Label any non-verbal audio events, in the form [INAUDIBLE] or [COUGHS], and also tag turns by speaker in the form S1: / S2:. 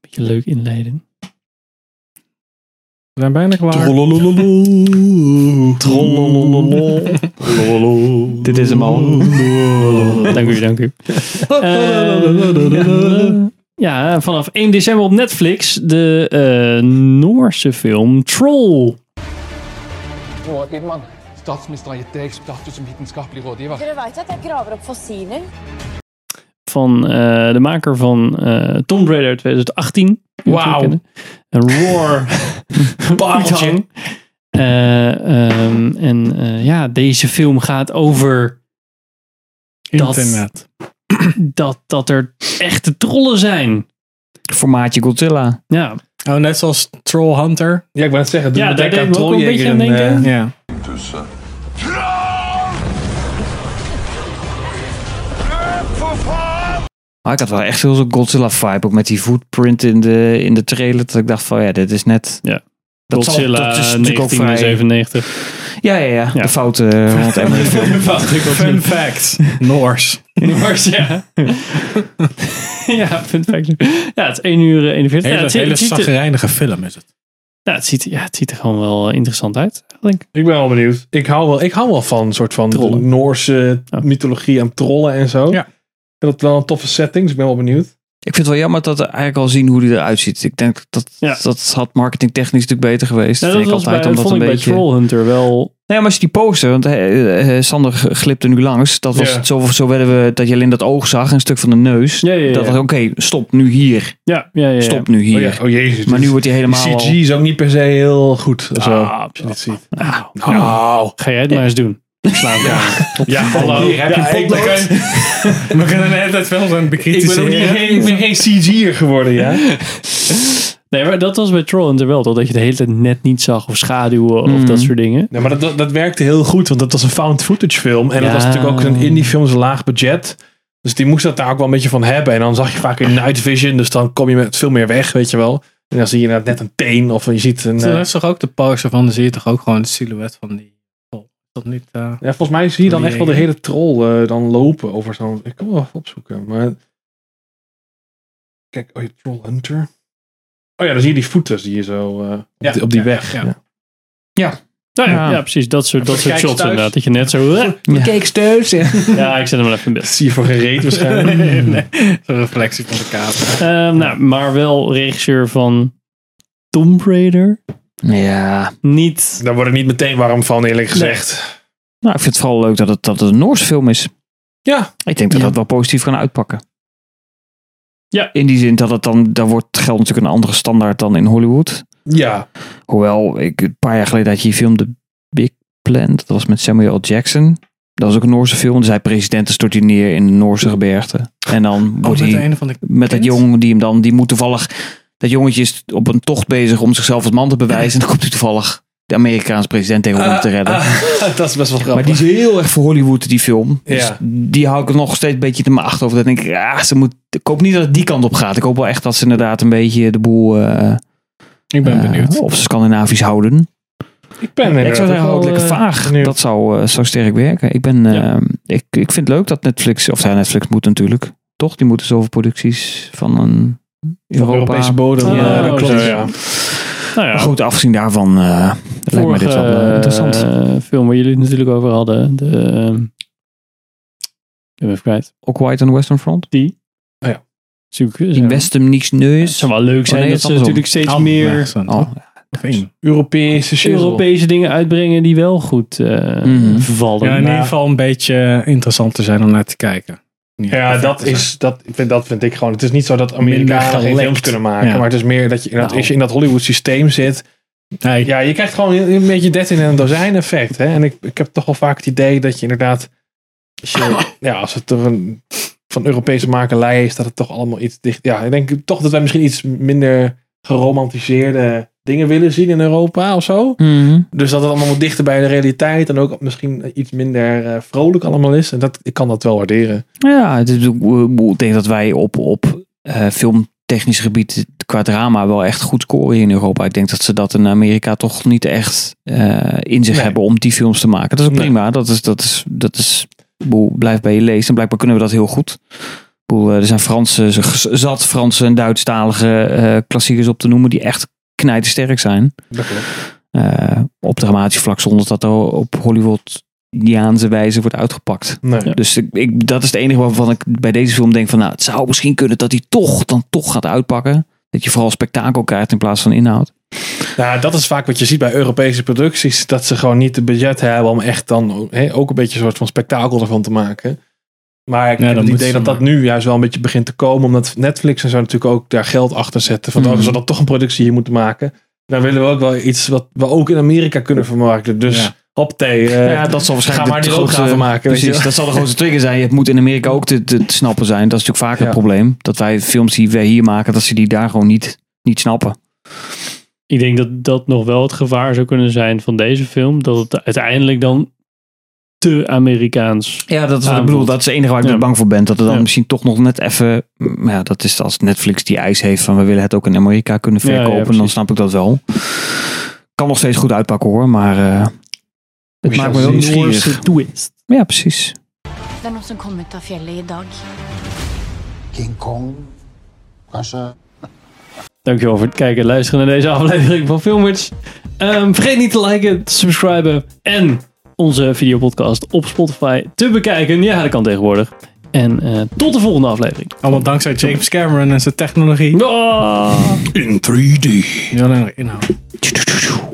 S1: beetje leuk inleiden.
S2: We zijn bijna klaar.
S3: Trollololol.
S1: Trollololol.
S3: Trollololol.
S1: Dit is hem al. Dank u, dank u. Eh, ja, vanaf 1 december op Netflix de eh, Noorse film Troll.
S4: Roar Edman, statsministeren har gitt deg status som vitenskapelig rådgiver.
S5: Dere veit at jeg graver opp fossiler?
S1: Van eh, de maker van eh Tomb Raider 2018. Die we
S2: Wauw.
S1: natuurlijk kennen. Een roar. Pareltje. Eh, ehm, en eh, ja, deze film gaat over Dat-
S2: Internet.
S1: dat, dat er echte trollen zijn.
S6: Formaatje Godzilla.
S1: Ja,
S2: Oh, net zoals Troll Hunter.
S3: Ja, ik wou het zeggen. Doe
S1: Ja,
S3: me
S1: daar
S3: denken aan
S1: deed me ook een beetje
S3: Trolljäger
S1: aan
S3: en,
S1: denken.
S3: eh,
S2: Ja.
S7: tussen. Troll! Rep voor vorm!
S6: Maar ik had wel echt heel zo'n Godzilla vibe. Ook met die footprint in de, in de trailer. Dat ik dacht van ja, dit is net...
S1: Ja.
S6: Dat zal-
S1: Godzilla
S6: dat is natuurlijk ook vrij-
S1: 1997. [LAUGHS]
S6: Ja, ja, ja.
S1: Ja.
S6: De foute eh, Ronald Emmerich
S1: [LAUGHS]
S6: film.
S2: Fun
S3: [LAUGHS]
S2: fact. Noors.
S1: Noors, ja. [LAUGHS] ja, vind ik Ja, het is 1 uur eh, 41. ja,
S2: Hele,
S1: het, ziet-
S2: hele
S1: het ziet er,
S2: zagrijnige film is het.
S1: ja, het ziet, ja, het ziet er gewoon wel eh, interessant uit. Denk. ik.
S3: Ik ben wel benieuwd. Ik hou wel, ik hou wel van een soort van
S1: Trollen.
S3: de Noorse
S1: Ja.
S3: mythologie aan trollen en zo.
S2: Ja.
S3: En dat wel een toffe setting, dus ik ben wel benieuwd.
S6: Ik vind het wel jammer dat we eigenlijk al zien hoe die eruit ziet. Ik denk dat
S1: Ja.
S6: dat had marketingtechnisch natuurlijk beter geweest.
S1: Nou,
S6: vind
S1: dat
S6: ik
S1: was bij,
S6: altijd
S1: dat
S6: omdat
S1: vond ik
S6: een
S1: bij
S6: beetje.
S1: Trollhunter wel...
S6: Nee, maar als je die poster, want eh, eh, Sander glipte nu langs. Dat was
S3: Ja.
S6: het, zo, zo werden we dat je alleen dat oog zag, en een stuk van de neus.
S1: Ja, ja, ja.
S6: Dat was oké, stop nu hier.
S1: Ja, ja, ja. ja.
S6: Stop nu hier.
S3: Oh, ja. oh jezus.
S6: Maar nu
S3: dit-
S6: wordt hij helemaal.
S3: CG
S6: al-
S3: is ook niet per se heel goed. Of zo,
S1: Ah,
S3: als je dit ziet.
S1: Nou,
S3: Nou,
S1: ga jij het maar eens doen. Slaan we aan. [LAUGHS] Ja, hallo.
S3: Hier heb je
S1: Ja, ik-
S3: potlood.
S2: [LAUGHS] We kunnen de hele tijd
S3: Ik
S2: wel zijn
S3: ben, ook niet,
S2: bekritiseren.
S3: geen- ik ben geen CG'er geworden, ja.
S1: Nee, maar dat was bij Trollhunter wel. Dat je de hele tijd net niet zag of schaduwen of
S6: Mhm.
S1: dat soort dingen.
S3: Nee, maar dat, dat, dat werkte heel goed, want dat was een found footage film. En dat was
S1: Ja.
S3: natuurlijk ook een indie film, zo'n laag budget. Dus die moest dat daar ook wel een beetje van hebben. En dan zag je vaak in night vision, dus dan kom je met veel meer weg, weet je wel. En dan zie je inderdaad net een teen of je ziet een... eh,
S2: Dat is toch ook de poster van, dan zie je toch ook gewoon de silhouet van die. Oh, is dat niet. eh,
S3: ja, volgens mij zie je dan
S2: Nee.
S3: echt wel de hele troll eh, dan lopen over zo'n... Ik kan wel even opzoeken, maar... Kijk, oh je troll hunter. Oh ja, dan zie je die voeten die je zo eh, op, die, op die
S2: ja,
S3: weg.
S2: ja.
S1: Nou ja,
S6: Ja.
S1: ja, precies. Dat soort, dat soort
S3: Kijk
S1: shots
S3: thuis.
S1: inderdaad. Dat je net zo...
S6: Ja.
S1: Ja, ik zet hem wel even in beeld.
S3: Dat zie je voor geen [LAUGHS] reet waarschijnlijk.
S2: nee, zo'n reflectie van de kaart.
S1: Ehm, nou, maar wel regisseur van Tomb Raider.
S6: Ja.
S1: Niet.
S3: Daar word ik niet meteen warm van, eerlijk gezegd.
S6: Nou, ik vind het vooral leuk dat het, dat het een Noorse film is.
S3: Ja.
S6: Ik denk dat
S1: Ja.
S6: dat wel positief gaan uitpakken.
S1: Ja.
S6: In die zin dat het dan, daar wordt geldt natuurlijk een andere standaard dan in Hollywood.
S3: Ja,
S6: Hoewel, ik, een paar jaar geleden had je die film The Big Plant. Dat was met Samuel L. Jackson. Dat was ook een Noorse film. Dus hij presidenten stort hij neer in de Noorse gebergte. En dan
S2: Oh,
S6: wordt
S2: met
S6: hij
S2: een van de.
S6: met dat
S2: kind?
S6: jong die hem dan... Die moet toevallig... Dat jongetje is op een tocht bezig om zichzelf als man te bewijzen. En dan komt hij toevallig de Amerikaanse president tegen om
S2: Ah,
S6: hem te redden.
S3: Ah, dat is best wel grappig.
S6: maar die is heel erg voor Hollywood, die film. Dus
S3: Ja.
S6: die hou ik nog steeds een beetje te mijn achterover. Dan denk ik, ah, ze moet, ik hoop niet dat het die kant op gaat. Ik hoop wel echt dat ze inderdaad een beetje de boel... eh,
S2: Ik ben
S6: eh,
S2: benieuwd.
S6: op Scandinavisch houden.
S3: ik ben
S6: Ja, ik zou zeggen, houd
S3: ook
S6: het lekker
S3: wel, eh,
S6: vaag.
S3: benieuwd.
S6: Dat zou, eh, zou sterk werken. Ik, ben, eh,
S1: Ja.
S6: ik, ik vind het leuk dat Netflix, of ja, Netflix moet natuurlijk, toch? Die moeten zoveel producties van een Europa.
S3: Europese bodem.
S1: Ah,
S3: eh,
S6: ja,
S1: oh,
S6: dat
S1: zo,
S6: klopt.
S3: ja.
S1: Nou ja,
S6: Maar goed, afgezien daarvan eh Oh, lijkt mij dit wel eh, interessant.
S1: eh, film waar jullie het natuurlijk over hadden. De, ehm, ik ben even kwijt.
S6: Ook White on the Western Front.
S1: Zoek,
S6: In Westem niks
S1: Het
S6: neus.
S1: zou wel leuk zijn
S6: nee,
S1: dat
S6: dat
S1: ze
S6: is andersom.
S1: natuurlijk steeds
S2: Anders
S1: meer
S2: ergens dan,
S6: Oh,
S2: toch? Of één.
S3: Europese shizzle.
S1: Europese dingen uitbrengen die wel goed eh,
S6: Mhm.
S1: vallen.
S2: Ja, in ieder geval een beetje eh, interessant te zijn om naar te kijken. Niet
S3: Ja,
S2: perfect
S3: dat
S2: te zijn.
S3: is dat ik vind dat vind ik gewoon. Het is niet zo dat
S2: Minder
S3: Amerikanen geen
S2: gelekt.
S3: films kunnen maken,
S2: Ja.
S3: maar het is meer dat je inderdaad,
S1: Nou.
S3: als je in dat Hollywood systeem zit,
S2: Nee,
S3: ja, je krijgt gewoon een een beetje dat in een dozijn effect, hè? En ik, ik heb toch wel vaak het idee dat je inderdaad, als [COUGHS] je, ja, als het toch een van Europese makelij is, dat het toch allemaal iets dicht. Ja, ik denk toch dat wij misschien iets minder geromantiseerde dingen willen zien in Europa of zo.
S6: Mhm.
S3: Dus dat het allemaal wat dichter bij de realiteit en ook misschien iets minder eh, vrolijk allemaal is. En dat, ik kan dat wel waarderen.
S6: Ja, het is, ook- ik denk dat wij op, op eh, filmtechnisch gebied qua drama wel echt goed scoren in Europa. Ik denk dat ze dat in Amerika toch niet echt eh, in zich
S3: Nee.
S6: hebben om die films te maken. Dat is ook
S3: Nee.
S6: prima. Dat is, dat is, dat is, ik bedoel, blijf bij je lezen. En blijkbaar kunnen we dat heel goed. Ik bedoel, Ik bedoel, eh, Er zijn Franse, z- zat Franse en Duitsstalige eh, klassiekers op te noemen die echt knijtersterk zijn.
S3: Dat klopt.
S6: Eh, op dramatisch vlak zonder dat er op Hollywoodiaanse wijze wordt uitgepakt.
S3: Nee.
S6: Dus ik, ik- dat is het enige waarvan ik bij deze film denk van nou het zou misschien kunnen dat hij toch dan toch gaat uitpakken. Dat je vooral spektakel krijgt in plaats van inhoud.
S3: Nou, dat is vaak wat je ziet bij Europese producties. Dat ze gewoon niet de budget hebben om echt dan hè, ook een beetje een soort van spektakel ervan te maken. Maar ik
S2: Ja,
S3: heb
S2: dan
S3: het
S2: moeten
S3: idee dat
S2: ze
S3: dat nu juist wel een beetje begint te komen. Omdat Netflix en zo natuurlijk ook daar geld achter zetten. Van
S6: Mhm.
S3: als we dan toch een productie hier moeten maken. Dan willen we ook wel iets wat we ook in Amerika kunnen vermarkten. Dus
S2: Ja.
S3: hop thee. eh,
S6: dat zal
S3: ga maar die loopgraven maken. weet je
S6: Precies,
S3: wel.
S6: dat zal de grootste trigger zijn. Het moet in Amerika ook te, te, te snappen zijn. Dat is natuurlijk vaak
S3: Ja.
S6: het probleem. Dat wij films die wij hier maken, dat ze die daar gewoon niet, niet snappen.
S1: Ik denk dat dat nog wel het gevaar zou kunnen zijn van deze film. Dat het uiteindelijk dan te Amerikaans.
S6: Ja, dat
S1: is wat ik
S6: Ah, ik bedoel.
S1: bedoel.
S6: Dat is het enige waar ik
S1: Ja.
S6: dus bang voor ben. Dat er dan
S1: Ja.
S6: misschien toch nog net even... maar Ja, dat is als Netflix die eis heeft van... We willen het ook in Amerika kunnen
S1: Ja, ja,
S6: verkopen. dan
S1: precies.
S6: snap ik dat wel. Kan nog steeds goed uitpakken hoor. Maar eh, het maakt me wel nieuwsgierig.
S1: twist.
S6: Ja, precies.
S5: Det er noen som kom ut av fjellet i dag.
S4: King Kong? Kanskje?
S1: Dankjewel voor het kijken en luisteren naar deze aflevering van Filmers. Ehm, vergeet niet te liken, te subscriben en onze videopodcast op Spotify te bekijken. Ja, dat kan tegenwoordig. En eh, tot de volgende aflevering.
S2: Allemaal dankzij James Cameron en zijn technologie.
S1: Ah.
S2: Heel erg inhoud.
S6: Tjoe, tjoe, tjoe.